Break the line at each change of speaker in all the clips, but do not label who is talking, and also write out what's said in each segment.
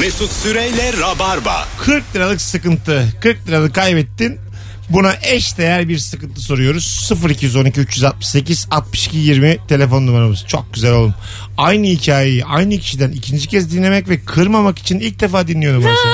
Mesut Süreyle Rabarba.
40 liralık sıkıntı. 40 liranı kaybettin. Buna eş değer bir sıkıntı soruyoruz. 0212 368 62 20 telefon numaramız. Çok güzel oğlum. Aynı hikayeyi aynı kişiden ikinci kez dinlemek ve kırmamak için ilk defa dinliyorum burası.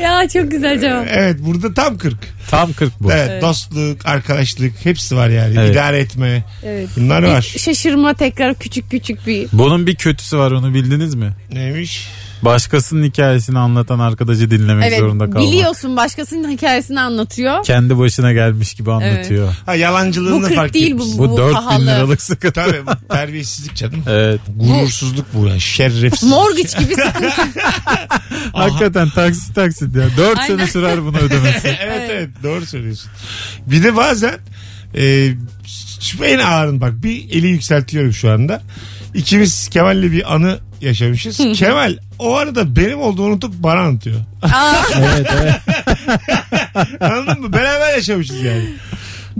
Ya çok güzel cevap.
evet burada tam 40.
Tam 40 bu.
Evet, dostluk, arkadaşlık hepsi var yani.
Evet.
İdare etme.
Evet.
Bunlar
Bir
var.
şaşırma tekrar küçük küçük bir.
Bunun bir kötüsü var onu bildiniz mi?
Neymiş?
Başkasının hikayesini anlatan arkadaşı dinlemek
Evet
zorunda kalmak.
biliyorsun başkasının hikayesini anlatıyor.
Kendi başına gelmiş gibi anlatıyor.
Ha
Bu
yalancılığını
40
fark
değil
etmiş.
bu, bu,
Bu 4000
pahalı.
liralık sıkıntı.
Tabii bu terbiyesizlik canım.
Evet.
Gurursuzluk bu ya. Şerefsizlik.
Morgıç gibi sıkıntı.
Hakikaten taksit taksit ya. 4
Aynen.
sene sürer bunu ödemesi.
evet evet doğru söylüyorsun. Bir de bazen e, şu en ağırın bak bir eli yükseltiyorum şu anda. İkimiz Kemal'le bir anı yaşamışız. Kemal o arada benim olduğumu unutup bana anlatıyor.
Aa,
evet evet.
Anladın mı? Beraber yaşamışız yani.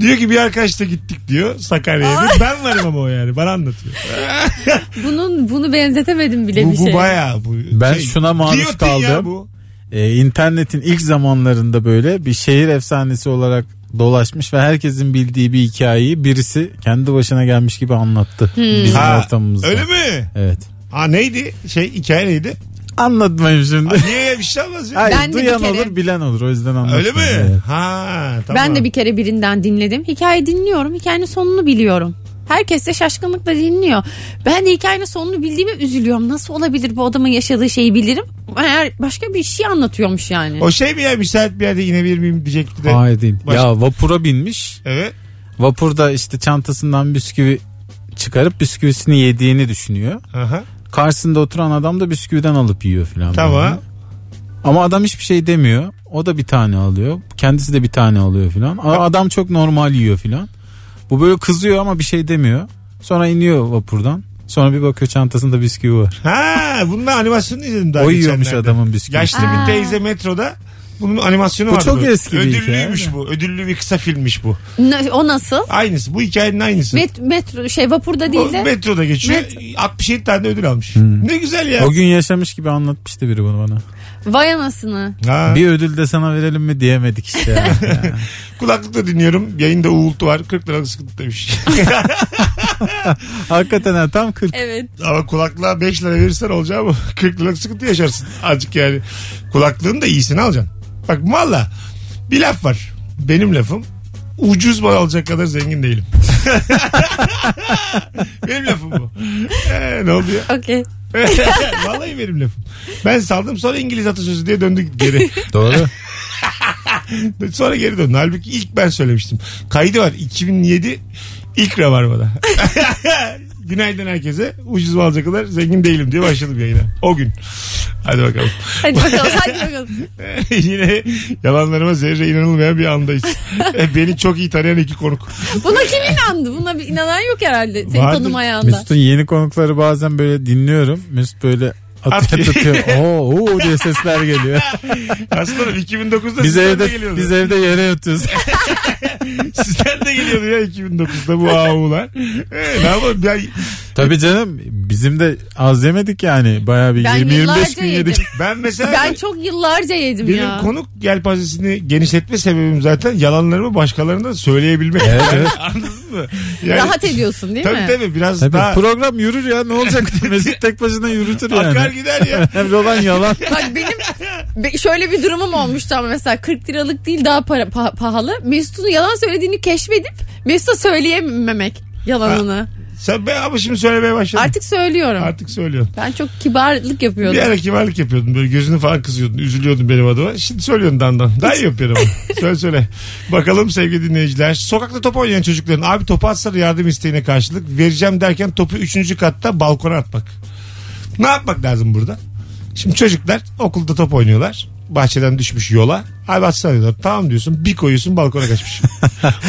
Diyor ki bir arkadaşla gittik diyor Sakarya'ya. Diyor, Ben varım ama o yani bana anlatıyor.
bunun bunu benzetemedim bile
bu,
bir
bu
şey.
bayağı bu. şey,
Ben şuna maruz
giyotin Ya
kaldım.
bu.
Ee, internetin ilk zamanlarında böyle bir şehir efsanesi olarak dolaşmış ve herkesin bildiği bir hikayeyi birisi kendi başına gelmiş gibi anlattı.
Hmm.
Bizim
Ha,
ortamımızda.
Öyle mi?
Evet.
Ha neydi? Şey hikaye neydi?
Anlatmayayım
Ha,
şimdi.
niye bir şey olmaz ya?
Hayır,
Ben de bir
duyan
kere-
olur bilen olur o yüzden
Öyle
anlatmayayım.
mi?
Evet.
Ha tamam.
Ben de bir kere birinden dinledim. Hikaye dinliyorum. Hikayenin sonunu biliyorum. Herkes de şaşkınlıkla dinliyor. Ben de hikayenin sonunu bildiğime üzülüyorum. Nasıl olabilir bu adamın yaşadığı şeyi bilirim. Eğer başka bir şey anlatıyormuş yani.
O şey mi ya müsait bir yerde inebilir miyim diyecekti de.
Hayır değil.
Başka-
Ya vapura binmiş.
Evet.
Vapurda işte çantasından bisküvi çıkarıp bisküvisini yediğini düşünüyor.
Aha.
Karşısında oturan adam da bisküviden alıp yiyor filan.
Tamam.
Yani. Ama adam hiçbir şey demiyor. O da bir tane alıyor. Kendisi de bir tane alıyor filan. A- Adam çok normal yiyor filan. Bu böyle kızıyor ama bir şey demiyor. Sonra iniyor vapurdan. Sonra bir bakıyor çantasında bisküvi var.
Ha bunun da animasyonunu izledim daha
o yiyormuş
geçenlerde.
adamın bisküvi.
Yaşlı bir
Aa.
teyze metroda bunun animasyonu
Bu
vardı.
çok eski bir
Ödüllüymüş
hikaye.
bu. Ödüllü bir kısa filmmiş bu.
Na- o nasıl?
Aynısı. Bu hikayenin aynısı.
Met- metro şey vapurda
O
değil de
metroda geçiyor. 67 tane de ödül almış. Ne güzel ya.
Hmm. O gün yaşamış gibi anlatmıştı biri bunu bana.
vay anasını.
Ha.
Bir ödül de sana verelim mi diyemedik işte. ya.
Kulaklıkla dinliyorum. Yayında uğultu var. 40 liralık sıkıntı demiş.
Hakikaten ha, tam 40.
Evet.
Ama kulaklığa 5 lira verirsen olacağı bu. 40 liralık sıkıntı yaşarsın. Azıcık yani. Kulaklığın da iyisini alacaksın. Bak valla bir laf var. Benim lafım. Ucuz mal alacak kadar zengin değilim. benim lafım bu. Ee, ne oldu ya?
Okey.
Vallahi benim lafım. Ben saldım sonra İngiliz atasözü diye döndük geri.
Doğru.
Sonra geri döndü. Halbuki ilk ben söylemiştim. Kaydı var. 2007 ilk Rabarba'da. Günaydın herkese. Ucuz mal alacak kadar zengin değilim diye başladım yayına. O gün. Hadi bakalım.
Hadi bakalım. hadi bakalım.
Yine yalanlarıma zerre inanılmayan bir andayız. E, Beni çok iyi tanıyan iki konuk.
Buna kim inandı? Buna bir inanan yok herhalde. Seni
Vardır.
tanımayan da.
Mesut'un yeni konukları bazen böyle dinliyorum. Mesut böyle atıyor
Atıyor.
tutuyor. Oo, oo diye sesler geliyor.
Aslında 2009'da
Biz
sizden de
evde
geliyordu.
biz evde yere yatıyoruz.
Sizden de geliyordu ya 2009'da bu avular. E, ne yapalım ben,
Tabii canım bizim de az yemedik yani. Bayağı bir
Ben
20-25
yıllarca
gün
yedim.
yedik.
ben mesela...
Ben çok yıllarca yedim
Benim
ya.
konuk yelpazesini genişletme sebebim zaten yalanlarımı başkalarına da söyleyebilmek.
Evet, evet.
Anladın mı? Yani,
Rahat ediyorsun değil
tabii
mi?
tabii biraz
Tabii
daha
program yürür ya ne olacak? Mesut tek başına yürütür
akar
yani.
gider ya.
Hem olan yalan.
Bak benim be- şöyle bir durumum olmuştu ama mesela 40 liralık değil daha para, pa- pahalı. Mesut'un yalan söylediğini keşfedip Mesut'a söyleyememek yalanını.
Sen ben ama şimdi söylemeye başladım. Artık,
Artık söylüyorum.
söylüyorsun.
Ben çok kibarlık
Bir
yapıyordum.
ara kibarlık yapıyordun böyle gözünü falan kızıyordun üzülüyordun benim adıma. Şimdi söylüyorsun dandan. Daha iyi yapıyorum ama. söyle söyle. Bakalım sevgili dinleyiciler. Sokakta top oynayan çocukların abi topu atsana yardım isteğine karşılık vereceğim derken topu üçüncü katta balkona atmak. Ne yapmak lazım burada? Şimdi çocuklar okulda top oynuyorlar. Bahçeden düşmüş yola. Abi atsana diyorlar. Tamam diyorsun. Bir koyuyorsun balkona kaçmış.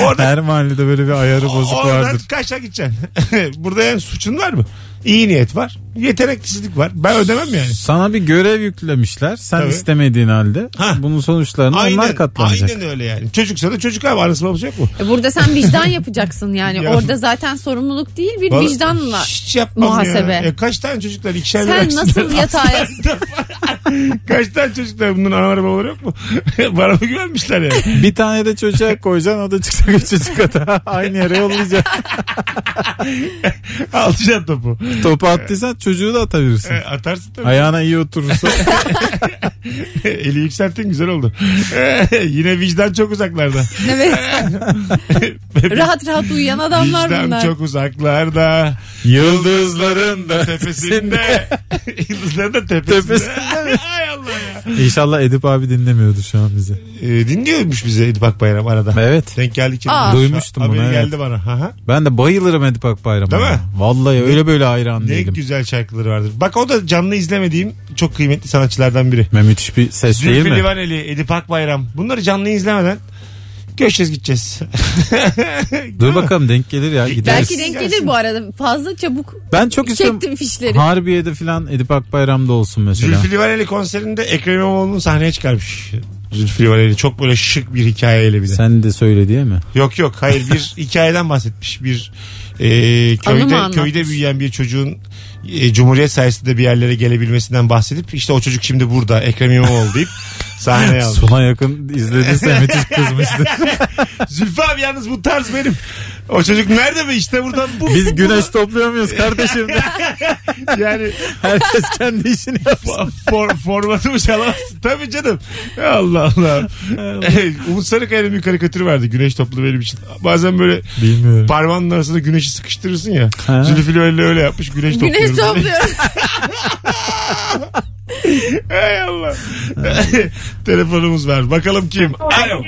Orada
Her mahallede böyle bir ayarı bozuk
Oradan
vardır.
kaça gideceksin? Burada yani suçun var mı? İyi niyet var. Yeteneksizlik var. Ben ödemem yani.
Sana bir görev yüklemişler. Sen
Tabii.
istemediğin halde.
Ha.
Bunun sonuçlarını onlar katlanacak.
aynen öyle yani. Çocuksa da çocuk abi anası babası yok mu?
E Burada sen vicdan yapacaksın yani.
Ya.
Orada zaten sorumluluk değil bir
Vallahi
vicdanla.
Hiç yapmam
muhasebe.
ya. E, kaç tane çocuklar ikişer lira
Sen
aksınlar.
nasıl yatağa
Kaç tane çocuklar bunun anaları babaları yok mu? Bana mı güvenmişler yani?
Bir tane de çocuğa koyacaksın o da çıkacak üçüncü kata. Aynı yere yollayacaksın.
Alacaksın topu.
Topu attıysan çocuğu da atabilirsin.
E, atarsın tabii.
Ayağına iyi oturursa.
Eli yükselttin güzel oldu. Yine vicdan çok uzaklarda.
evet. rahat rahat uyuyan adamlar
vicdan
bunlar.
çok uzaklarda.
Yıldızların da
Tepesinde. Yıldızların da tepesinde.
Tepesinde
Ay Allah ya.
İnşallah Edip abi dinlemiyordu şu an bizi.
E, dinliyormuş bizi Edip Akbayram arada.
Evet.
Denk geldi ki.
Aa.
Duymuştum
Haberi
bunu, evet.
geldi bana. Ha ha.
Ben de bayılırım Edip Akbayram'a.
Değil mi?
ya. Vallahi öyle böyle hayran
Ne
değilim.
güzel şarkıları vardır. Bak o da canlı izlemediğim çok kıymetli sanatçılardan biri.
Ve müthiş bir ses değil
Zülfü
mi?
Livaneli, Edip Akbayram. Bunları canlı izlemeden göçeceğiz gideceğiz.
Dur bakalım denk gelir ya gideriz.
Belki
Gelsin.
denk gelir bu arada. Fazla çabuk
Ben çok istiyorum.
çektim fişleri.
Harbiye'de filan Edip Akbayram'da olsun mesela.
Zülfü Livaneli konserinde Ekrem İmamoğlu'nu sahneye çıkarmış. Zülfü Livaneli çok böyle şık bir hikayeyle bir de.
Sen de söyle diye mi?
Yok yok hayır bir hikayeden bahsetmiş. Bir e,
Anı mı
köyde
anlatmış?
köyde büyüyen bir çocuğun e, Cumhuriyet sayesinde bir yerlere gelebilmesinden bahsedip işte o çocuk şimdi burada Ekrem İmamoğlu deyip sahneye almış.
Sona yakın izlediyse müthiş kızmıştı.
Zülfü abi yalnız bu tarz benim. O çocuk nerede mi işte buradan bu.
Biz güneş topluyor muyuz kardeşim?
yani
Herkes kendi işini yapsın.
for, formatımı çalamazsın. Tabii canım. Allah Allah. Umut Sarıkaya'nın bir karikatürü vardı güneş toplu benim için. Bazen böyle
Bilmiyorum.
parmağının arasında güneşi sıkıştırırsın ya.
Ha.
Zülfü öyle öyle yapmış güneş topluyorum.
Güneş topluyorum.
Ey Allah. Telefonumuz var. Bakalım kim? Alo.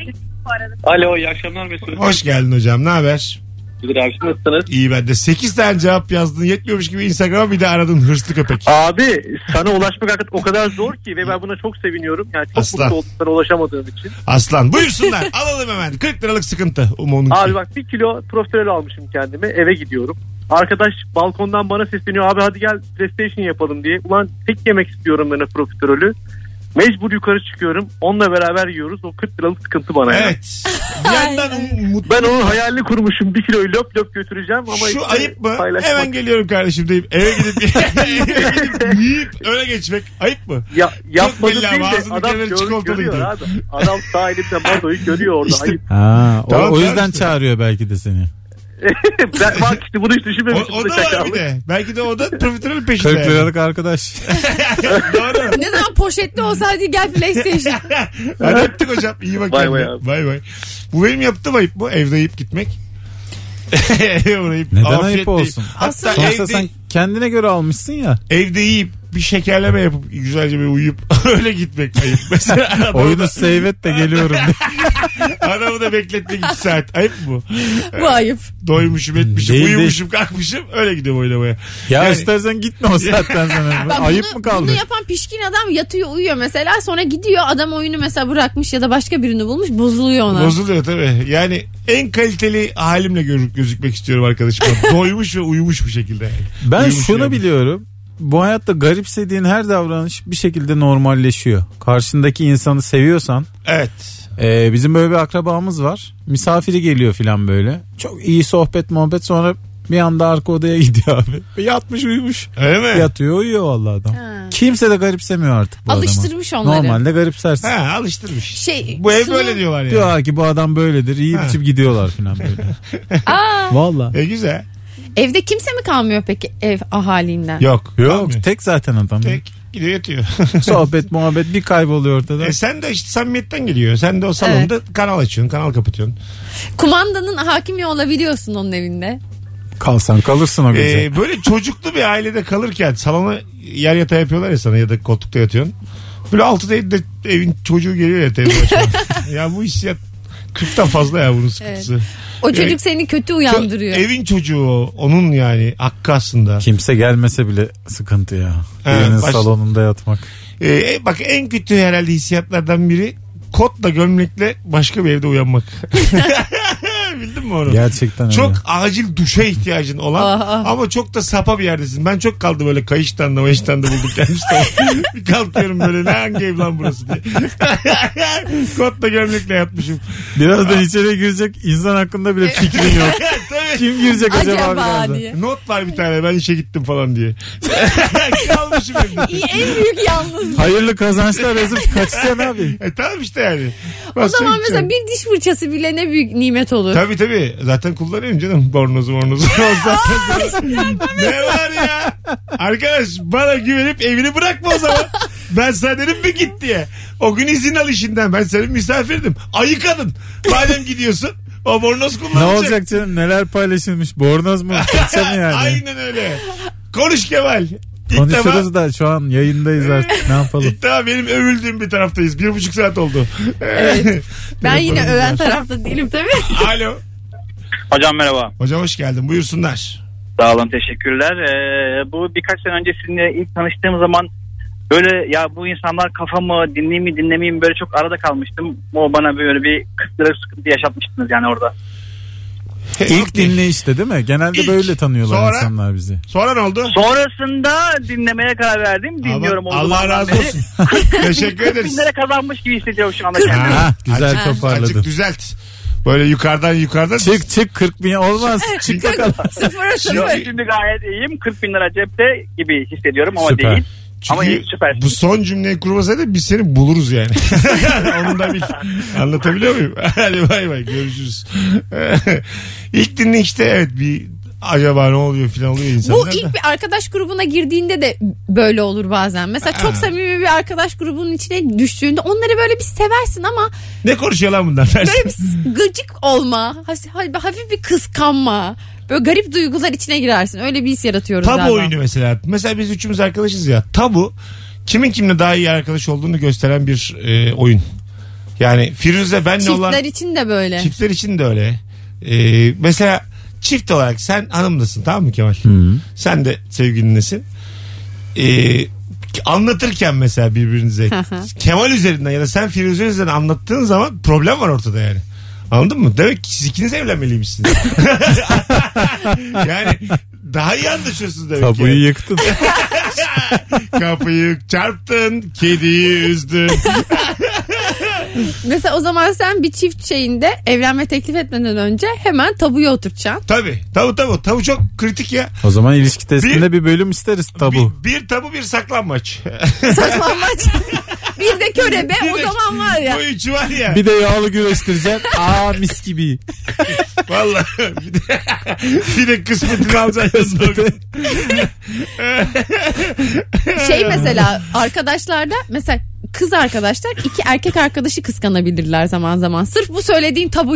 Alo iyi akşamlar Mesut.
Hoş geldin hocam. Ne haber?
Güzel abi siz nasılsınız?
İyi ben de. 8 tane cevap yazdın. Yetmiyormuş gibi Instagram'a bir de aradın hırslı köpek.
Abi sana ulaşmak hakikaten o kadar zor ki ve ben buna çok seviniyorum. Yani çok
Aslan.
mutlu oldum sana ulaşamadığım için.
Aslan. Buyursunlar. Alalım hemen. 40 liralık sıkıntı. Umon'un.
Abi bak bir kilo profiterol almışım kendime eve gidiyorum. Arkadaş balkondan bana sesleniyor abi hadi gel PlayStation yapalım diye. Ulan tek yemek istiyorum ben o profiterolü. Mecbur yukarı çıkıyorum. Onunla beraber yiyoruz. O 40 liralık sıkıntı bana ya.
Evet. Bir yandan mutlu.
Ben onun hayalini kurmuşum. Bir kiloyu löp löp götüreceğim ama
Şu
işte
ayıp mı?
paylaşmak-
Hemen geliyorum kardeşim deyip eve gidip, eve gidip yiyip öyle geçmek ayıp mı?
Ya, yapmadı
belli
değil
ama
de
ağzının
adam
kenarı
görüyor,
çikolatalıydı.
görüyor abi. Adam sahilinde mazoyu görüyor orada.
İşte-
Ayıp.
Ha, o,
Tamam,
o yüzden
kardeşim.
çağırıyor belki de seni.
ben, bak işte bunu hiç
O,
düşünmemiştim.
o da var bir de. Belki de o da profiterol peşinde.
40
yani.
liralık arkadaş.
Doğru.
ne zaman poşetli olsaydı gel PlayStation.
Hadi öptük hocam. İyi bak
Bay
kendine.
bay abi.
Bay bay. Bu benim yaptığım ayıp bu. Evde yiyip gitmek. Evde yiyip,
Neden
afiyetle
ayıp
yiyip.
olsun?
Hatta evde,
Sonuçta sen kendine göre almışsın ya.
evde yiyip bir şekerleme yapıp güzelce bir uyuyup öyle gitmek ayıp. Mesela adamı,
Oyunu save et de geliyorum diye.
adamı da bekletmek iki saat. Ayıp mı?
Bu ayıp.
Doymuşum etmişim
Değil,
uyumuşum kalkmışım öyle gidiyorum oynamaya.
Ya
Yani-
istersen gitme o saatten sonra.
Bak
Ayıp
bunu-
mı kaldı?
Bunu yapan pişkin adam yatıyor uyuyor mesela sonra gidiyor adam oyunu mesela bırakmış ya da başka birini bulmuş bozuluyor ona.
Bozuluyor tabii. Yani en kaliteli halimle görük, gözükmek istiyorum arkadaşım. Doymuş ve uyumuş bir şekilde.
Ben
Uyumuş
şunu
yani.
biliyorum. Bu hayatta garipsediğin her davranış bir şekilde normalleşiyor. Karşındaki insanı seviyorsan
Evet.
Ee, bizim böyle bir akrabamız var. Misafiri geliyor filan böyle. Çok iyi sohbet muhabbet sonra bir anda arka odaya gidiyor abi. Yatmış uyumuş.
Öyle mi?
Yatıyor uyuyor vallahi adam.
Ha.
Kimse de garipsemiyor artık bu
Alıştırmış
adamı.
onları.
Normalde garipsersin.
Ha, alıştırmış.
Şey,
Bu ev
sunum-
böyle diyorlar yani.
Diyor ha ki bu adam böyledir. İyi
Ha.
biçim gidiyorlar filan böyle.
Aa,
Valla.
E güzel.
evde kimse mi kalmıyor peki ev ahalinden?
Yok.
Yok
kalmıyor.
tek zaten adam.
Tek gidiyor yatıyor.
Sohbet muhabbet bir kayboluyor ortada.
e sen de işte samimiyetten geliyor. Sen de o salonda kanal açıyorsun, kanal kapatıyorsun.
Kumandanın hakimi olabiliyorsun onun evinde.
Kalsan kalırsın o gece.
E, böyle çocuklu bir ailede kalırken salona yer yatağı yapıyorlar ya sana ya da koltukta yatıyorsun. Böyle 6'da 7'de evin çocuğu geliyor ya televizyona. ya bu hissiyat 40'tan fazla ya bunun sıkıntısı.
O çocuk
Evet.
seni kötü
Çok-
uyandırıyor.
Evin çocuğu o. onun yani hakkı aslında.
Kimse gelmese bile sıkıntı ya.
Evet,
Birinin
baş-
salonunda yatmak.
Ee, bak en kötü herhalde hissiyatlardan biri kotla gömlekle başka bir evde uyanmak. Bildin mi onu?
Gerçekten
Çok
öyle.
acil duşa ihtiyacın olan
Aha.
ama çok da sapa bir yerdesin. Ben çok kaldı böyle kayıştan da mayıştan da bulduk gelmiştim. bir kalkıyorum böyle ne hangi ev lan burası diye. Kotla gömlekle yatmışım.
Birazdan içeri girecek insan hakkında bile fikrin yok.
Tabii.
Kim girecek acaba,
Acaba
birazdan?
diye.
Not var bir tane ben işe gittim falan diye. Kalmışım evde.
İyi, en büyük yalnız.
Hayırlı kazançlar yazıp kaçacaksın abi.
E tamam işte yani. şey
O zaman mesela bir diş fırçası bile ne büyük nimet olur.
Tabii tabii. Zaten kullanıyorum canım. Bornozu bornozu. Zaten- ne var ya? Arkadaş bana güvenip evini bırakma o zaman. Ben sana dedim bir git diye. O gün izin al işinden. Ben senin misafirdim. Ayı kadın. Madem gidiyorsun o bornoz
Ne
kullanacak.
olacak canım neler paylaşılmış bornoz mu fırça mı yani?
Aynen öyle. Konuş Kemal. İlk defa,
Konuşuruz da şu an yayındayız artık ne yapalım.
ilk defa benim övüldüğüm bir taraftayız. Bir buçuk saat oldu.
Evet. Ben yine
Telefonum
öven
var.
tarafta değilim tabii.
Alo.
Hocam merhaba.
Hocam hoş geldin. Buyursunlar.
Sağ olun teşekkürler. Ee, bu birkaç sene önce sizinle ilk tanıştığım zaman böyle ya bu insanlar kafamı dinleyeyim mi dinlemeyeyim mi böyle çok arada kalmıştım. O bana böyle bir kısıtlı sıkıntı yaşatmıştınız yani orada.
İlk dinleyişte değil mi? Genelde
İlk.
böyle tanıyorlar
Sonra-
insanlar bizi.
Sonra ne oldu?
Sonrasında dinlemeye karar verdim. Dinliyorum
Allah,
o
Allah
zamandan
razı
beri.
olsun. Teşekkür ederiz.
Binlere kazanmış gibi hissediyorum şu anda kendimi.
Ha, güzel
Açık-
Azıcık
toparladın.
düzelt. Böyle yukarıdan yukarıdan.
Çık çık 40 bin olmaz. çık bakalım.
Sıfıra
Yok,
sıfır.
Şimdi gayet iyiyim. 40 bin lira cepte gibi hissediyorum ama
Süper.
değil.
Çünkü
Ama iyi, süpersin.
Bu son cümleyi kurmasaydı biz seni buluruz yani. Onu da bil. Anlatabiliyor muyum? Hadi bay bay görüşürüz. İlk dinle işte evet bir acaba ne oluyor filan oluyor insanlar
Bu
da.
ilk bir arkadaş grubuna girdiğinde de böyle olur bazen. Mesela çok samimi bir arkadaş grubunun içine düştüğünde onları böyle bir seversin ama
Ne konuşuyor lan bunlar?
böyle bir gıcık olma, has- hafif bir kıskanma. Böyle garip duygular içine girersin. Öyle bir his yaratıyoruz
Tabu
galiba.
oyunu mesela. Mesela biz üçümüz arkadaşız ya. Tabu kimin kimle daha iyi arkadaş olduğunu gösteren bir e, oyun. Yani Firuze benle olan...
Çiftler için de böyle.
Çiftler için de öyle. Ee, mesela çift olarak sen hanımdasın tamam mı Kemal? Sen de sevgilinlesin. Ee, anlatırken mesela birbirinize
hı.
Kemal üzerinden ya da sen Firuze üzerinden anlattığın zaman problem var ortada yani. Anladın mı? Demek ki siz ikiniz evlenmeliymişsiniz. yani daha iyi anlaşıyorsunuz demek ki.
Tabuyu yıktın.
Kapıyı çarptın, kediyi üzdün.
Mesela o zaman sen bir çift şeyinde evlenme teklif etmeden önce hemen tabuya oturtacaksın.
tabii, tabii tabii. Tabii çok kritik ya.
O zaman ilişki testinde bir bölüm isteriz tabu.
Bir, bir tabu bir saklanmaç.
Saklanmaç. bir de körebe
Bir
o
de-
zaman var ya.
Bu üçü var ya.
Bir de yağlı güreştirecek. Aa mis gibi.
Vallahi bir de, bir de kısmetini alacaksın.
Şey mesela arkadaşlarda mesela kız arkadaşlar iki erkek arkadaşı kıskanabilirler zaman zaman. Sırf bu söylediğin tabu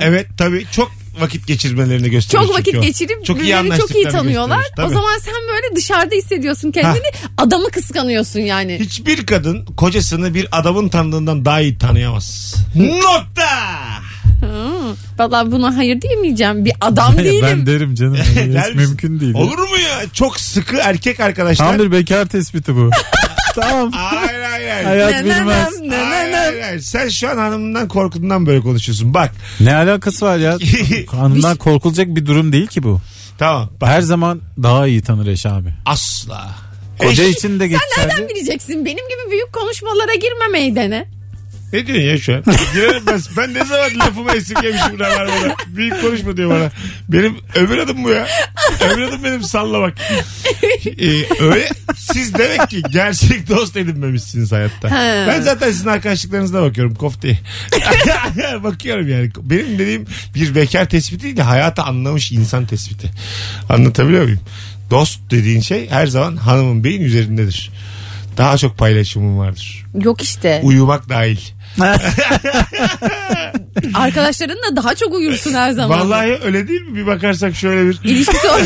evet tabii çok vakit geçirmelerini gösteriyor.
Çok vakit
çünkü o.
geçirip birbirini çok iyi
anlaştıklarını
tanıyorlar.
gösterir, tabii.
O zaman sen böyle dışarıda hissediyorsun kendini. Adamı kıskanıyorsun yani.
Hiçbir kadın kocasını bir adamın tanıdığından daha iyi tanıyamaz. Nokta.
Valla buna hayır diyemeyeceğim. Bir adam değilim.
ben derim canım.
Der
Hiç
misin?
mümkün değil.
Olur mu ya? Çok sıkı erkek arkadaşlar.
Tam bir bekar tespiti bu. tamam.
Hayır hayır hayır.
Hayat
Ne, ne,
bilmez.
ne, ne,
Hayır,
ne.
hayır, hayır. Sen şu an hanımından korkundan böyle konuşuyorsun. Bak.
Ne alakası var ya? Hanımdan korkulacak bir durum değil ki bu.
tamam. Bak.
Her zaman daha iyi tanır eş abi.
Asla.
Koca
Eş-
için de
Nereden
geçerli.
bileceksin? Benim gibi büyük konuşmalara girme meydana.
Ne diyorsun ya şu an? Girerim ben. Ben ne zaman lafımı esirgemişim bana bana. Büyük konuşma diyor bana. Benim öbür adım bu ya. Öbür adım benim salla bak. Ee, öyle siz demek ki gerçek dost edinmemişsiniz hayatta.
Ha.
Ben zaten sizin arkadaşlıklarınıza bakıyorum kofte. bakıyorum yani. Benim dediğim bir bekar tespiti değil de hayata anlamış insan tespiti. Anlatabiliyor muyum? Dost dediğin şey her zaman hanımın beyin üzerindedir. Daha çok paylaşımım vardır.
Yok işte.
Uyumak dahil.
Arkadaşların da daha çok uyursun her zaman.
Vallahi öyle değil mi? Bir bakarsak şöyle bir
İlişki sor-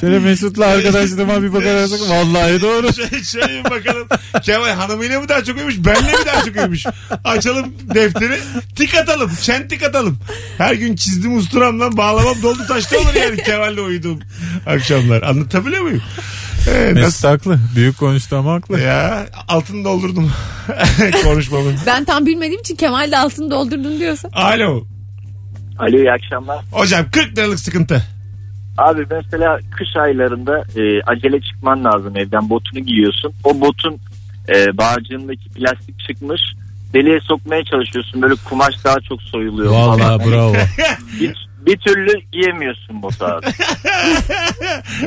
Şöyle Mesut'la arkadaşlığıma bir bakarsak vallahi doğru.
şöyle, şöyle bir bakalım. Kemal hanımıyla mı daha çok uyumuş? Benle mi daha çok uyumuş? Açalım defteri. Tik atalım. Çen tik atalım. Her gün çizdim usturamla bağlamam doldu taşta olur yani Kemal'le uyuduğum akşamlar. Anlatabiliyor muyum? Ee, nasıl?
Mesut haklı. Büyük konuştu ama haklı.
Ya altını doldurdum konuşmamın.
ben tam bilmediğim için Kemal de altını doldurdun diyorsa.
Alo.
Alo iyi akşamlar.
Hocam 40 liralık sıkıntı.
Abi mesela kış aylarında e, acele çıkman lazım evden botunu giyiyorsun. O botun e, bağcığındaki plastik çıkmış. Deliğe sokmaya çalışıyorsun böyle kumaş daha çok soyuluyor falan.
Vallahi bravo.
Bir, bir türlü giyemiyorsun botu abi.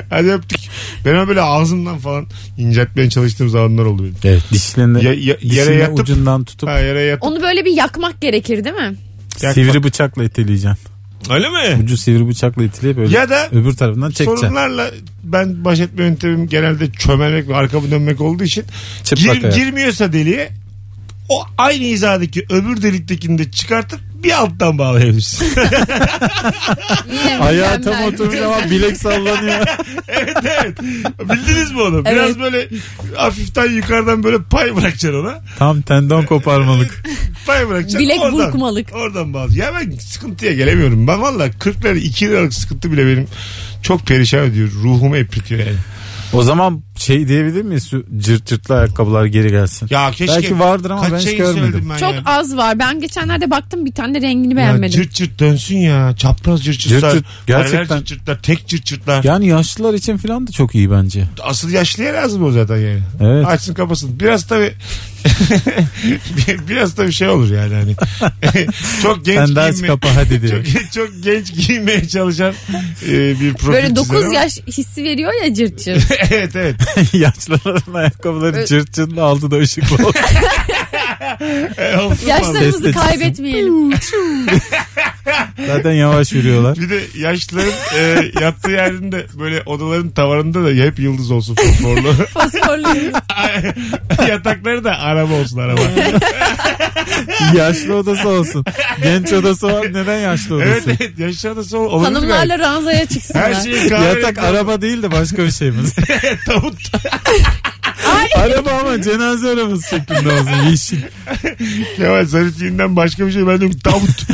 Hadi öptük. Ben ama böyle ağzımdan falan inceltmeye çalıştığım zamanlar oldu benim.
Evet dişlerine,
Ya- ya- yere
dişine
yatıp-
ucundan tutup
Ha yere yat.
Onu böyle bir yakmak gerekir değil mi?
yakma.
sivri bıçakla iteleyeceksin.
Öyle mi?
Ucu sivri bıçakla iteleyip öyle
Ya da
öbür tarafından çekeceksin.
sorunlarla ben baş etme yöntemim genelde çömelmek ve arkamı dönmek olduğu için
Çıplak
gir-
ayak.
girmiyorsa deliğe o aynı hizadaki öbür deliktekini de çıkartıp bir alttan bağlayabilirsin.
Yine
Ayağı tam
mükemmel.
oturmuş ama bilek sallanıyor.
evet evet. Bildiniz mi onu? Biraz
Evet.
böyle hafiften yukarıdan böyle pay bırakacaksın ona.
Tam tendon koparmalık.
Pay bırakacaksın.
Bilek
oradan,
burkmalık.
Oradan bazı. Ya ben sıkıntıya gelemiyorum. Ben valla 40 lira 2 liralık sıkıntı bile benim çok perişan ediyor. Ruhumu epritiyor yani.
O zaman şey diyebilir miyiz? Şu cırt cırtlı ayakkabılar geri gelsin.
Ya keşke.
Belki vardır ama
Kaç
ben hiç
şey
görmedim.
söyledim ben
Çok
ya.
az var. Ben geçenlerde baktım bir tane de rengini
Ya
beğenmedim.
cırt cırt dönsün ya. Çapraz cırt cırtlar.
Cırt cırt, gerçekten.
paralel Cırt cırtlar. Tek cırt cırtlar.
Yani yaşlılar için filan da çok iyi bence.
Asıl yaşlıya lazım o zaten yani.
Evet.
Açsın kafasını. Biraz tabi biraz da bir şey olur yani hani. çok genç
Sen daha az
giyinme-
kapa hadi diyor.
çok, çok genç giymeye çalışan e, bir profil
Böyle
çizer
9
ama-
yaş hissi veriyor ya cırt cırt.
evet evet.
Yaşlıların ayakkabıları cırt cırtlı altı da ışıklı olsun.
E, olsun vallahi.
Yaşlarımızı
Destekçisin.
kaybetmeyelim.
Zaten yavaş yürüyorlar.
Bir de yaşlıların e, yattığı yerinde böyle odaların tavanında da hep yıldız olsun fosforlu.
Fosforluyuz.
Yatakları da araba olsun araba.
yaşlı odası olsun. Genç odası var neden yaşlı
evet
odası?
evet yaşlı adası ol- olabilir. belki.
Hanımlarla ranzaya
her şey-
çıksınlar.
şeyi kahve
Yatak araba değil de başka bir şeyimiz.
tavut
araba ama cenaze arabası şeklinde olsun yeşil.
Kemal Sarıçin'den başka bir şey ben diyorum tavut.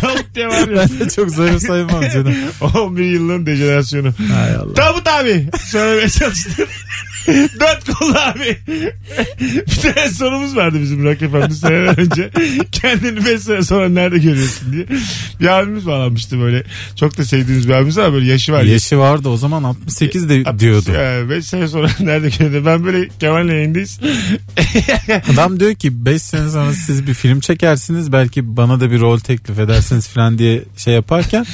tavut diye var ya.
Ben de çok zarif sayılmam canım.
11 yılın dejenerasyonu.
Hay Allah.
Tavut abi. Söylemeye çalıştım. Dört kollu abi. bir tane sorumuz vardı bizim Rock FM'de seneler önce. Kendini 5 sene sonra nerede görüyorsun diye. Bir abimiz bağlanmıştı böyle. Çok da sevdiğimiz bir abimiz ama böyle yaşı var.
Yaşı vardı o zaman 68 de diyordu.
5 sene sonra nerede görüyorsun? Ben böyle Kemal'le yayındayız.
Adam diyor ki 5 sene sonra siz bir film çekersiniz belki bana da bir rol teklif edersiniz falan diye şey yaparken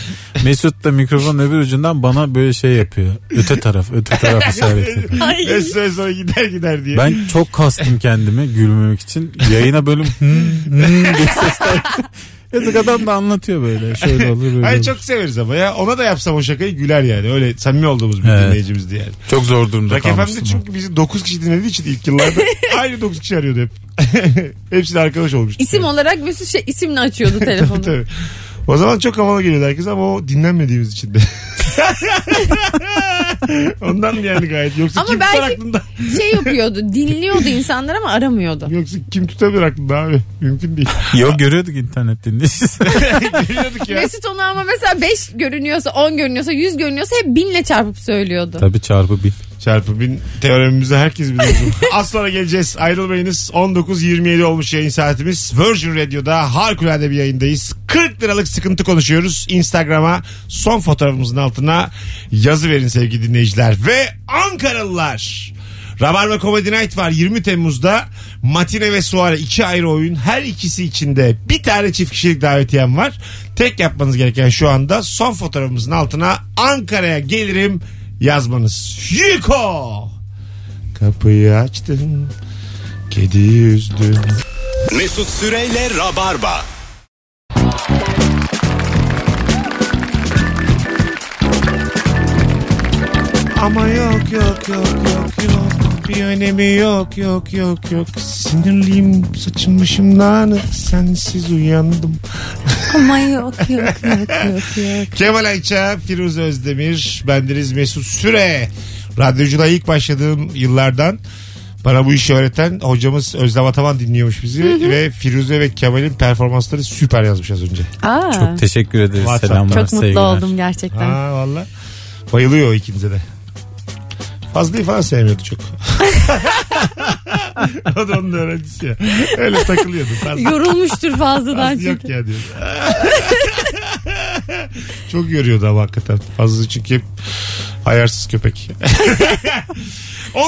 Mesut da mikrofonun öbür ucundan bana böyle şey yapıyor. Öte taraf öte taraf işaret ediyor.
5 sene sonra gider gider diye.
Ben çok kastım kendimi gülmemek için. Yayına bölüm hmm, hmm diye sesler. Yazık adam da anlatıyor böyle. Şöyle olur böyle şey.
Hayır
olur.
çok severiz ama ya. Ona da yapsam o şakayı güler yani. Öyle samimi olduğumuz bir
Evet.
dinleyicimizdi yani.
Çok zor durumda
Rock
kalmıştım.
FM'de çünkü bizi 9 kişi dinlediği için ilk yıllarda aynı 9 kişi arıyordu hep. Hepsi de arkadaş olmuştu.
İsim olarak Mesut şey isimle açıyordu telefonu.
Tabii. O zaman çok havalı geliyordu herkes ama o dinlenmediğimiz için de. Ondan yani gayet. Yoksa
Ama
kim tutar
belki-
aklında?
şey yapıyordu dinliyordu insanlar ama aramıyordu.
Yoksa kim tutabilir aklında abi? Mümkün değil.
Yok görüyorduk internet dinleyicisi.
Biliyorduk ya.
Mesut onu ama mesela 5 görünüyorsa 10 görünüyorsa 100 görünüyorsa hep binle çarpıp söylüyordu.
Tabii çarpı bin.
Çarpı bin teoremimizi herkes bilir. Az sonra geleceğiz. Ayrılmayınız. 19.27 olmuş yayın saatimiz. Virgin Radio'da harikulade bir yayındayız. 40 liralık sıkıntı konuşuyoruz. Instagram'a son fotoğrafımızın altına yazı verin sevgili dinleyiciler. Ve Ankaralılar. Rabarba Comedy Night var 20 Temmuz'da. Matine ve Suare iki ayrı oyun. Her ikisi içinde bir tane çift kişilik davetiyem var. Tek yapmanız gereken şu anda son fotoğrafımızın altına Ankara'ya gelirim yazmanız. Yuko! Kapıyı açtın. Kedi üzdün.
Mesut Süreyle Rabarba.
Ama yok yok yok yok yok. Bir önemi yok yok yok yok. Sinirliyim saçım başımdan. Sensiz uyandım.
Ama yok yok yok yok yok.
Kemal Ayça, Firuze Özdemir, bendeniz Mesut Süre. Radyoculuğa ilk başladığım yıllardan bana bu işi öğreten hocamız Özlem Ataman dinliyormuş bizi ve Firuze ve Kemal'in performansları süper yazmış az önce.
Aa,
Çok teşekkür ederiz.
WhatsApp.
Selamlar,
çok mutlu
sevgiler.
oldum gerçekten.
Ha valla. Bayılıyor o ikinize de. Fazlıyı falan sevmiyordu çok. o da onun öğrencisi ya. Öyle takılıyordu. Ben-
Yorulmuştur fazladan
Fazla yok
çünkü.
ya diyor. Çok yoruyordu ama hakikaten. Fazla çünkü hep ayarsız köpek.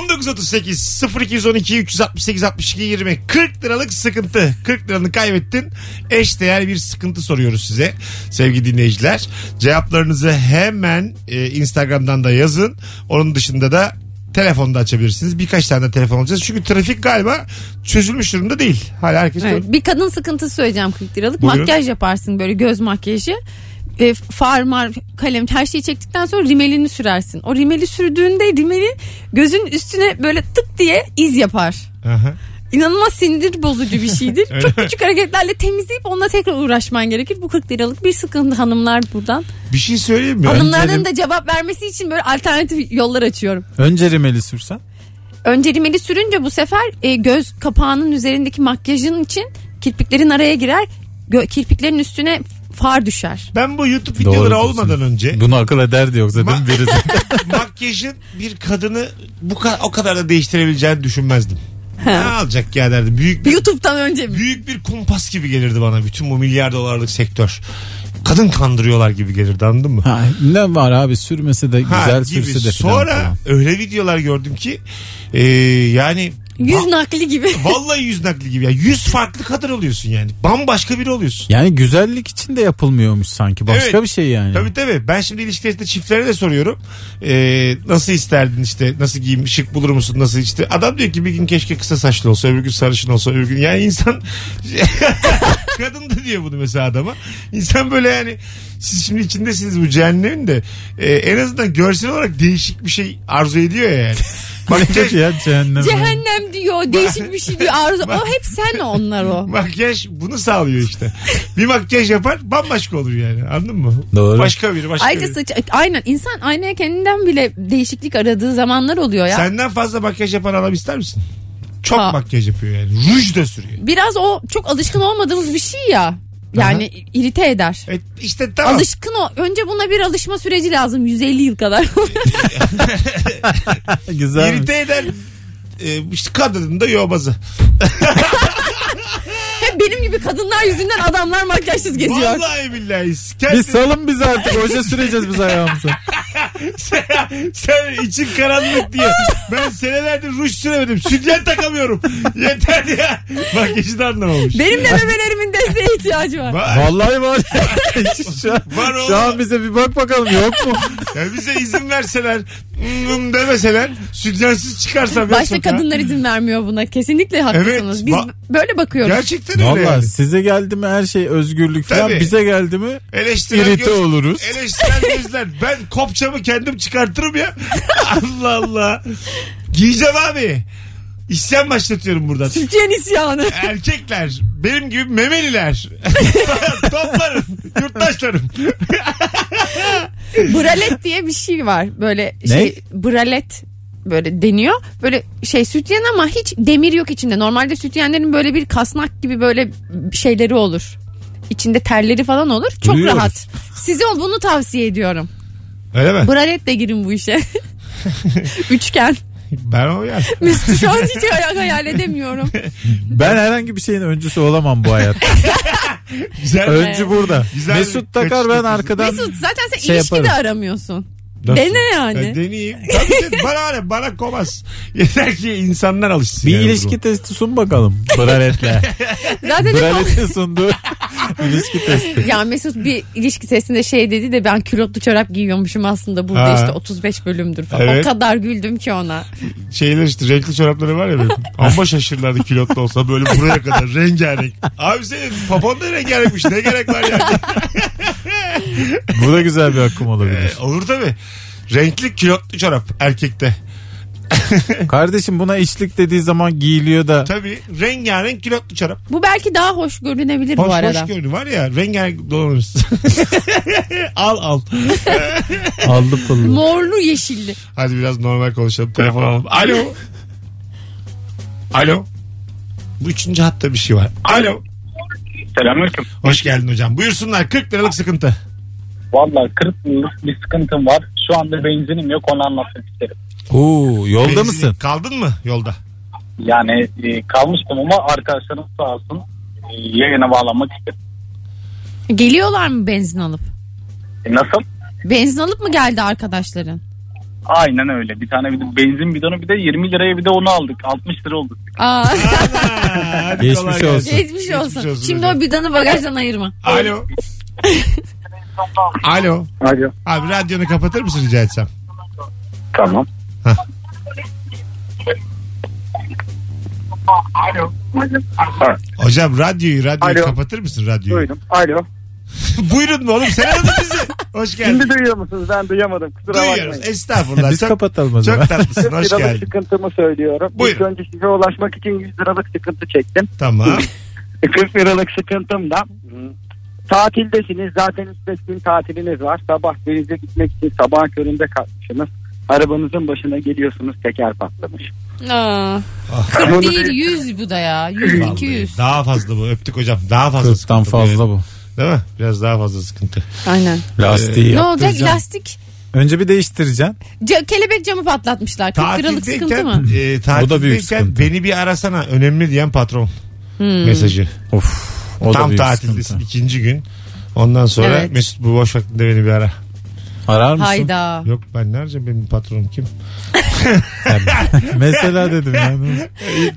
1938 0212 368 62 20 40 liralık sıkıntı. 40 liranı kaybettin. Eş değer bir sıkıntı soruyoruz size sevgili dinleyiciler. Cevaplarınızı hemen e, Instagram'dan da yazın. Onun dışında da telefonda açabilirsiniz. Birkaç tane de telefon alacağız. Çünkü trafik galiba çözülmüş durumda değil. Hala herkes
Evet, bir kadın sıkıntısı söyleyeceğim 40 liralık.
Buyurun.
Makyaj yaparsın böyle göz makyajı. E, far, mar, kalem her şeyi çektikten sonra rimelini sürersin. O rimeli sürdüğünde rimeli gözün üstüne böyle tık diye iz yapar.
Aha.
İnanılmaz sinir bozucu bir şeydir.
Öyle
Çok
mi?
küçük hareketlerle temizleyip onunla tekrar uğraşman gerekir. Bu 40 liralık bir sıkıntı hanımlar buradan.
Bir şey söyleyeyim mi?
Hanımların da cevap vermesi için böyle alternatif yollar açıyorum.
Önce rimeli sürsen.
Önce rimeli sürünce bu sefer e, göz kapağının üzerindeki makyajın için kirpiklerin araya girer. Gö- kirpiklerin üstüne far düşer.
Ben bu YouTube
Doğru
videoları
diyorsun.
olmadan önce
Bunu akıl ederdi yoksa değil mi birisi?
makyajın bir kadını bu ka- o kadar da değiştirebileceğini düşünmezdim. ne alacak ya derdim. Büyük bir,
YouTube'dan önce mi?
büyük bir kumpas gibi gelirdi bana bütün bu milyar dolarlık sektör. Kadın kandırıyorlar gibi gelirdi anladın mı?
Ha, ne var abi sürmesi de
Ha,
güzel
gibi.
sürse de falan
Sonra
falan.
öyle videolar gördüm ki e, yani
Yüz
va-
nakli gibi.
vallahi yüz nakli gibi ya. Yüz farklı kadın oluyorsun yani. Bambaşka biri oluyorsun.
Yani güzellik için de yapılmıyormuş sanki. Başka
Evet.
bir şey yani.
Tabii tabii. Ben şimdi ilişkilerinde çiftlere de soruyorum. Ee, nasıl isterdin işte? Nasıl giyim? Şık bulur musun? Nasıl işte? Adam diyor ki bir gün keşke kısa saçlı olsa, öbür gün sarışın olsa, öbür gün. Yani insan... Kadın da diyor bunu mesela adama. İnsan böyle yani siz şimdi içindesiniz bu cehennemin de e, en azından görsel olarak değişik bir şey arzu ediyor ya yani. Makyaj,
şey ya cehennem.
Cehennem diyor, değişik bir şey diyor, arzu. O hep sen onlar o.
makyaj bunu sağlıyor işte. Bir makyaj yapar bambaşka olur yani anladın mı?
Doğru.
Başka biri başka
Ayrıca
biri.
saç, aynen insan aynaya kendinden bile değişiklik aradığı zamanlar oluyor ya.
Senden fazla makyaj yapan adam ister misin? Çok
Ha.
makyaj yapıyor yani. Ruj da sürüyor.
Biraz o çok alışkın olmadığımız bir şey ya. Yani irite eder.
E, işte tamam.
Alışkın o. Önce buna bir alışma süreci lazım. 150 yıl kadar.
güzel.
İrite eden e, işte kadının da yobazı.
Hep benim gibi kadınlar yüzünden adamlar makyajsız geziyor.
Vallahi billahi.
Bir
Kendin,
salın bizi artık. Oje süreceğiz biz ayağımıza.
sen için karanlık diye. Ben senelerdir ruj süremedim. Sütyen takamıyorum. Yeter ya. Makyajı da anlamamış.
Benim de memelerimin desteğe ihtiyacı var.
Var.
Vallahi var. şu, an,
Var oğlum.
şu an bize bir bak bakalım yok mu?
Ya bize izin verseler, mm, demeseler, sütyensiz çıkarsam. ya
Başta
sokağa.
kadınlar izin vermiyor buna. Kesinlikle haklısınız.
Evet,
Biz
ba-
böyle bakıyoruz.
Gerçekten öyle.
Vallahi
yani.
size geldi mi her şey özgürlük falan.
Tabii.
Bize geldi mi
Eleştiren
irite
göz-
oluruz.
Eleştiren gözler. Ben kopçamı kendim çıkartırım ya. Allah Allah. Giyeceğim abi. İsyan başlatıyorum buradan.
Türkiye'nin isyanı.
Erkekler benim gibi memeliler. Toplarım. Yurttaşlarım.
bralet diye bir şey var. Böyle şey bralet böyle deniyor. Böyle şey sütyen ama hiç demir yok içinde. Normalde sütyenlerin böyle bir kasnak gibi böyle şeyleri olur. İçinde terleri falan olur. Çok
Duyuyoruz.
rahat. Size ol bunu tavsiye ediyorum.
Öyle mi?
Braletle girin bu işe. Üçgen.
Ben o ya.
Mesut şu an hiç hayal, hayal edemiyorum.
Ben herhangi bir şeyin öncüsü olamam bu hayatta.
Güzel.
Öncü burada.
Güzel.
Mesut takar ben
Kaçtı.
arkadan.
Mesut zaten sen
Şey
ilişki de
yaparım.
aramıyorsun.
Nasıl?
Dene yani.
Ben deneyeyim. Tabii ki bana ne bana komaz. Yeter ki insanlar alışsın.
Bir
yani bu
ilişki testi sun bakalım. Braletle.
Zaten de
Braletin sunduğu ilişki testi.
Ya Mesut bir ilişki testinde şey dedi de ben külotlu çorap giyiyormuşum aslında burada
Ha.
işte 35 bölümdür falan.
Evet.
O kadar güldüm ki ona.
şeyler işte renkli çorapları var ya benim. Amma şaşırırlardı kilotlu olsa böyle buraya kadar rengarenk. Abi senin papon da rengarenkmiş ne gerek var yani.
Bu da güzel bir akım olabilir.
E, olur tabi. Renkli kilotlu çorap erkekte.
Kardeşim buna içlik dediği zaman giyiliyor da
Tabi rengarenk kilotlu çorap.
Bu belki daha hoş görünebilir
Hoş
bu arada.
hoş görünü var ya rengarenk dolanırız. al al.
aldı pıllı.
Morlu yeşilli.
Hadi biraz normal konuşalım. Telefon alalım. Alo. Alo. Bu üçüncü hatta bir şey var. Alo.
Selamünaleyküm.
Hoş geldin hocam. Buyursunlar 40 liralık sıkıntı.
Valla 40 yıllık bir sıkıntım var. Şu anda benzinim yok onu anlatmak isterim.
Oo, yolda
Benzin-
mısın?
Kaldın mı yolda?
Yani e, kalmıştım ama arkadaşlarım sağ olsun e, yayına bağlanmak istedim.
Geliyorlar mı benzin alıp?
E, nasıl?
Benzin alıp mı geldi arkadaşların?
Aynen öyle. Bir tane bir de benzin bidonu bir de 20 liraya bir de onu aldık. 60 lira oldu.
Aa,
Ana, hadi
Geçmiş
kolay gelsin.
olsun.
geçmiş olsun.
olsun
Şimdi
hocam. Ah.
o bidanı bagajdan ayırma.
Alo. Alo.
Alo.
Abi radyonu kapatır mısın rica etsem?
Tamam.
Hah.
Alo.
Hocam radyoyu radyoyu
Alo.
kapatır mısın radyoyu?
Duydum. Alo.
Buyurun mu oğlum sen aradın bizi. Hoş geldin.
Şimdi duyuyor musunuz? Ben duyamadım. Kusura bakmayın.
Duyuyoruz. Estağfurullah.
Biz
çok,
kapatalım o zaman.
çok tatlısın. Hoş
100 liralık
geldin.
sıkıntımı söylüyorum.
Buyurun.
İlk önce size ulaşmak için 100 liralık sıkıntı çektim.
Tamam.
40 liralık sıkıntım da hmm, tatildesiniz. Zaten 3-5 gün tatiliniz var. Sabah denize gitmek için sabah köründe kalkmışsınız. Arabanızın başına geliyorsunuz teker patlamış.
Aa,
Ah.
40 değil 100 bu da ya. 100 200.
Daha fazla bu. Öptük hocam. Daha fazla
40'tan
sıkıntı. bu
fazla bu.
yani. Değil mi? Biraz daha fazla sıkıntı.
Aynen.
Lastiği
Ne olacak
yaptıracaksın.
lastik?
Önce bir değiştireceksin.
Ca- kelebek camı patlatmışlar. 40 liralık sıkıntı mı?
E, tatildeyken
O da büyük sıkıntı.
beni bir arasana. Önemli diyen patron mesajı.
Of. O da
Tam
büyük
tatildesin
sıkıntı.
ikinci gün. Ondan sonra
Evet.
Mesut bu boş vaktinde beni bir ara.
Arar mısın?
Hayda.
Yok ben nerede benim patronum kim?
Mesela dedim yani.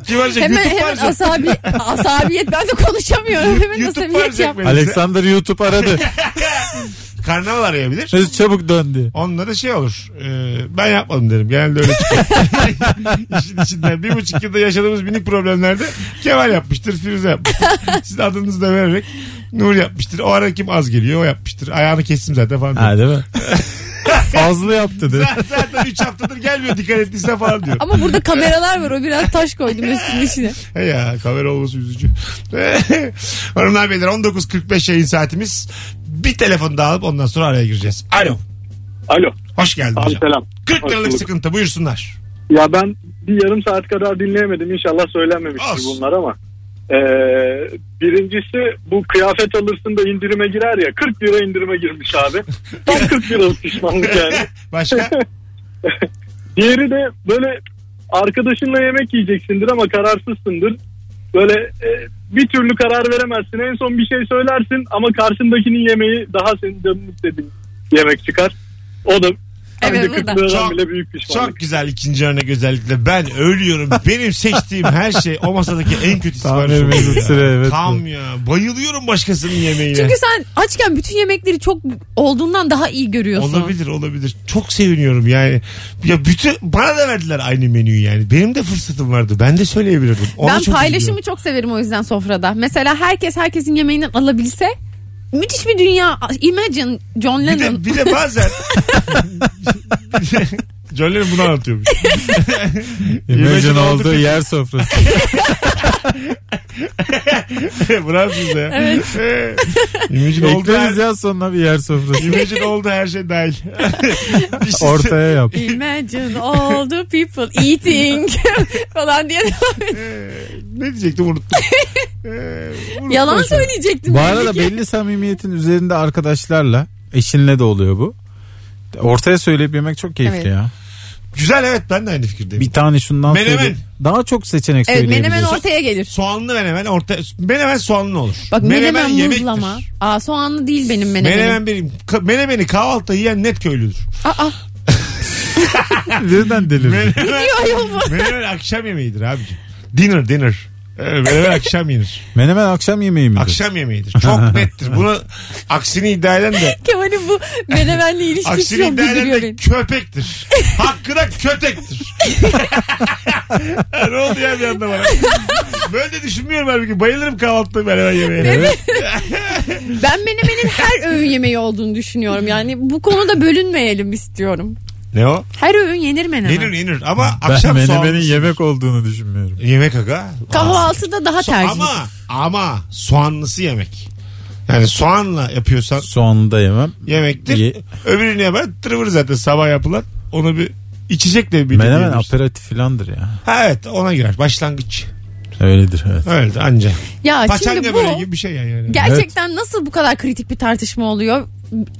Kim arayacak?
Hemen
YouTube
hemen
arayacak.
asabi, asabiyet ben de konuşamıyorum. Hemen
YouTube
asabiyet
arayacak
yap.
beni.
Alexander YouTube aradı.
Karnaval arayabilir.
Mesut çabuk döndü.
Onunla da şey olur. e, ben yapmadım derim. Genelde öyle çıkıyor. İşin içinden. Bir buçuk yılda yaşadığımız minik problemlerde Kemal yapmıştır, Firuze yapmıştır. Siz adınızı da vererek Nur yapmıştır. O ara kim az geliyor o yapmıştır. Ayağını kestim zaten falan. diyor.
Ha değil mi? Fazla yaptı dedi.
zaten 3 haftadır gelmiyor dikkat ettiyse falan diyor.
Ama burada kameralar var. O biraz taş koydum üstünün içine.
He ya kamera olması üzücü. Hanımlar beyler 19.45 yayın saatimiz. Bir telefon daha alıp ondan sonra araya gireceğiz. Alo.
Alo.
Hoş geldin
Abi
hocam.
selam.
40
Hoş
liralık
bulduk.
sıkıntı buyursunlar.
Ya ben bir yarım saat kadar dinleyemedim. İnşallah söylenmemiştir
Olsun.
bunlar ama. Ee, birincisi bu kıyafet alırsın da indirime girer ya. 40 lira indirime girmiş abi. Tam 40 liralık pişmanlık yani.
Başka?
Diğeri de böyle arkadaşınla yemek yiyeceksindir ama kararsızsındır. Böyle e, bir türlü karar veremezsin. En son bir şey söylersin ama karşındakinin yemeği daha senin canını istediğin yemek çıkar. O da bence
Evet, bu
40
da.
liradan
Çok-
bile büyük pişmanlık.
Çok güzel ikinci örnek özellikle. Ben ölüyorum. Benim seçtiğim her şey o masadaki en kötü
Tam
sipariş
bir
oluyor ya.
süre, evet.
Tam ya. Bayılıyorum başkasının yemeğine.
Çünkü sen açken bütün yemekleri çok olduğundan daha iyi görüyorsun.
Olabilir olabilir. Çok seviniyorum yani. Ya bütün bana da verdiler aynı menüyü yani. Benim de fırsatım vardı. Ben de söyleyebilirdim. Ona
ben
çok
paylaşımı
üzülüyorum.
çok severim o yüzden sofrada. Mesela herkes herkesin yemeğinden alabilse müthiş bir dünya. Imagine John
bir
Lennon.
de, bir de bazen John Lennon bunu anlatıyormuş.
Imagine olduğu yer sofrası.
Bravo size. Evet. Imagine oldu her,
Ekleriz ya sonuna bir yer sofrası.
Imagine oldu her şey dahil. Bir şey-
Ortaya yap.
Imagine all the people eating falan diye devam ediyor.
Ne diyecektim unuttum. Ee, unuttum.
Yalan söyleyecektim.
Bu
belli
arada
ki.
belli samimiyetin üzerinde arkadaşlarla, eşinle de oluyor bu. Ortaya söyleyip yemek çok keyifli
Evet.
ya.
Güzel evet ben de aynı fikirdeyim.
Bir tane şundan
Menemen.
söyle. Daha çok seçenek
Evet menemen
söyleyebilirsin.
ortaya gelir.
Soğanlı menemen orta menemen soğanlı olur.
Bak menemen,
yemektir.
muzlama. Aa soğanlı değil benim menemenim.
Menemen benim ka- menemeni kahvaltıda yiyen net köylüdür.
Aa
Birden delirir.
Menemen,
diyor ayol bu.
menemen akşam yemeğidir abicim. Dinner dinner. Ee, Menemen akşam yenir.
Menemen akşam yemeği midir?
Akşam yemeğidir. Çok nettir. Bunu aksini iddia eden de
Kemal'in bu menemenle ilişkisi
Aksini
çok
iddia
güldürüyor
eden de
beni.
köpektir. Hakkı da kötektir. ne oldu ya bir anda bana? Böyle de düşünmüyorum halbuki. Bayılırım kahvaltıda beraber yemeğe.
Evet.
Ben menemenin her öğün yemeği olduğunu düşünüyorum. Yani bu konuda bölünmeyelim istiyorum.
Ne o?
Her öğün yenir menemen.
Yenir yenir ama
Ben
akşam
menemenin
soğanlı.
yemek olduğunu düşünmüyorum.
Yemek aga.
Kahvaltıda daha
So-
tercih.
ama ama soğanlısı yemek. Yani soğanla yapıyorsan
Soğanlı da yemem.
yemektir.
Ye-
Öbürünü yapar tırvır zaten sabah yapılan. Onu bir içecekle bir
Menemen
yiyebilirsin.
aperatif filandır ya.
Ha, evet ona girer. Başlangıç.
Öyledir evet.
Evet anca.
Ya
Paçanga
E şimdi bu
böyle gibi bir şey yani. yani.
gerçekten nasıl bu kadar kritik bir tartışma oluyor?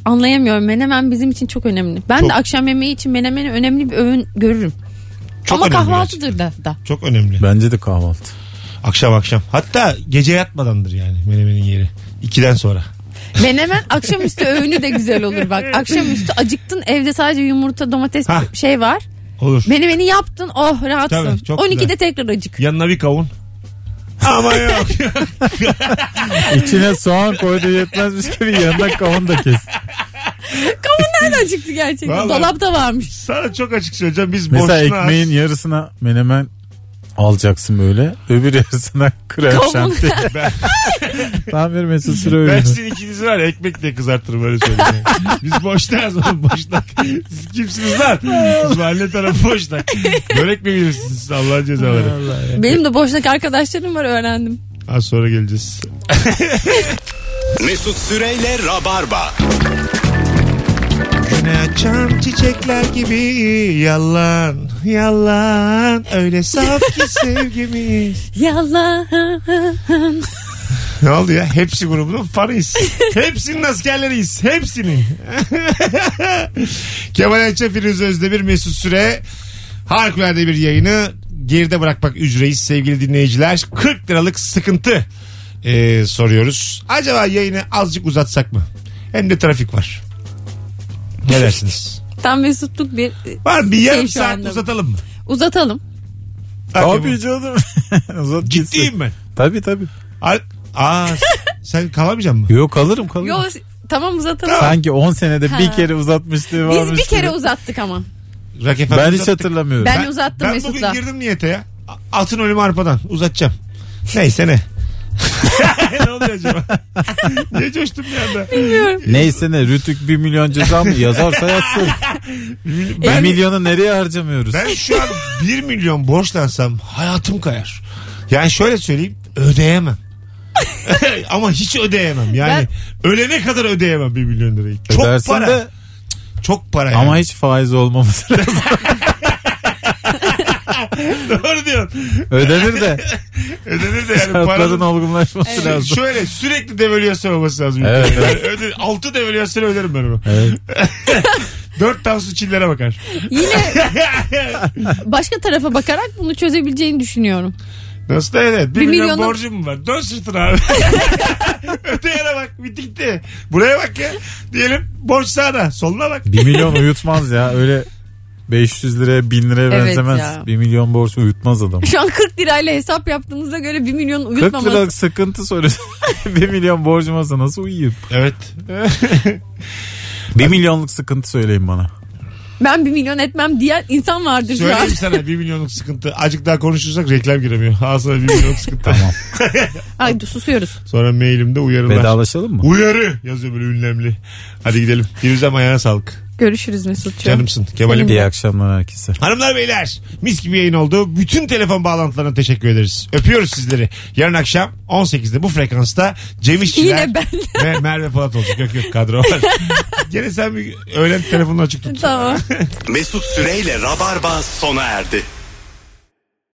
Anlayamıyorum. Menemen bizim için çok önemli. Ben
Çok.
de akşam yemeği için menemeni önemli bir öğün görürüm.
Çok
Ama
önemli
kahvaltıdır da, da.
Çok önemli.
Bence de kahvaltı.
Akşam akşam. Hatta gece yatmadandır yani menemenin yeri. İkiden sonra.
Menemen akşamüstü öğünü de güzel olur bak. Akşamüstü acıktın evde sadece yumurta domates
Hah.
şey var.
Olur.
Menemeni yaptın oh rahatsın.
Tabii, çok
12'de
güzel.
tekrar acık.
Yanına bir kavun. Ama yok.
İçine soğan koydu yetmezmiş gibi yanına kavun da kes.
Nereden acıktı gerçekten?
Vallahi.
Dolapta varmış.
Sana çok açık söyleyeceğim. Biz
Mesela
boşuna
ekmeğin yarısına menemen alacaksın böyle. Öbür yarısına krem
Kavun.
şanti.
Ben-
Tam bir mesut süre
Ben
öyle.
sizin ikinizi var ya ekmekle kızartırım öyle söyleyeyim. yani. Biz boşnağız oğlum boşnak. Siz kimsiniz lan? Biz mahalle tarafı boşnak. Börek mi bilirsiniz siz Allah'ın cezaları?
Benim de boşnak arkadaşlarım var öğrendim.
Az sonra geleceğiz.
Mesut Süreyle Rabarba.
Ne açan çiçekler gibi yalan yalan öyle saf ki sevgimiz.
Yalan.
Ne oldu ya? Hepsi grubunun fanıyız. Hepsinin askerleriyiz. Hepsinin. Kemal Ayça, Firuze Özdemir, Mesut Süre harikulade bir yayını geride bırakmak üzereyiz sevgili dinleyiciler. 40 liralık sıkıntı eee, soruyoruz. Acaba yayını azıcık uzatsak mı? Hem de trafik var. Ne dersiniz?
Tam mesutluk bir
Var mı? bir yarım
Şey şu
saat
anda.
uzatalım mı?
uzatalım.
Hakikaten.
Tabii canım. Uzat gitsin.
Ciddiyim ben.
Tabii tabii.
Al- Aa, s- sen kalamayacaksın mı?
Yok alırım kalırım.
Yo tamam uzatalım.
Sanki 10 senede
Ha.
bir kere uzatmışlığı varmış.
Biz bir kere
gibi.
uzattık ama.
Rock FM
Ben hiç
uzattık.
hatırlamıyorum.
Ben, uzattım
Ben
Mesut'la.
bugün girdim niyete ya. A- Altın ölümü arpadan uzatacağım. Neyse ne. ne oluyor acaba? Niye coştum bir anda?
Bilmiyorum.
Neyse ne Rütük 1 milyon ceza mı yazarsa yazsın.
Ben-
1 milyonu nereye harcamıyoruz?
Ben şu an 1 milyon borçlansam hayatım kayar. Yani şöyle söyleyeyim ödeyemem. Ama hiç ödeyemem. Yani ölene kadar ödeyemem 1 milyon lirayı. Çok
Ödersin
para.
de
Çok para yani.
ama hiç faiz olmaması lazım.
Doğru diyorsun.
Ödenir de
Ödenir de yani
şartların
paranın
olgunlaşması
Evet.
lazım.
Şöyle sürekli devalüasyon olması lazım.
Evet,
Yani öde- altı devalüasyon öderim ben onu.
Evet.
Dört tansu çillere bakar.
Yine başka tarafa bakarak bunu çözebileceğini düşünüyorum.
Nasıl da evet. Bir,
Bir
milyon
milyonun-
borcum var. Dön sırtına abi. Öte yere bak. Bitti gitti. Buraya bak ya. Diyelim borç sağda. Soluna bak.
1 milyon uyutmaz ya öyle 500 liraya 1000 liraya
Evet
benzemez.
ya.
1 milyon borç uyutmaz adam.
Şu an 40 lirayla hesap yaptığımıza göre 1 milyon
40
uyutmaması.
liralık sıkıntı soruyorsun. 1 milyon borcum olsa nasıl uyuyayım?
Evet.
1 milyonluk sıkıntı söyleyin bana.
Ben 1 milyon etmem diyen insan vardır şu an.
Söyleyeyim sana bir milyonluk sıkıntı. Azıcık daha konuşursak reklam giremiyor. Ha sana bir milyonluk sıkıntı.
Tamam.
Ay dur, susuyoruz.
Sonra mailimde uyarılar.
Vedalaşalım mı?
Uyarı yazıyor böyle ünlemli. Hadi gidelim. Firuzem ayağına sağlık.
Görüşürüz Mesut'cuğum.
Canımsın. Kemal'im.
İyi akşamlar herkese.
Hanımlar beyler mis gibi yayın oldu. Bütün telefon bağlantılarına teşekkür ederiz. Öpüyoruz sizleri. Yarın akşam 18'de bu frekansta Cem İşçiler
Yine ben.
ve Merve Polat olacak. Yok yok kadro var. Gene sen bir öğlen telefonunu açık tut.
tamam.
Mesut Süreyle Rabarba sona erdi.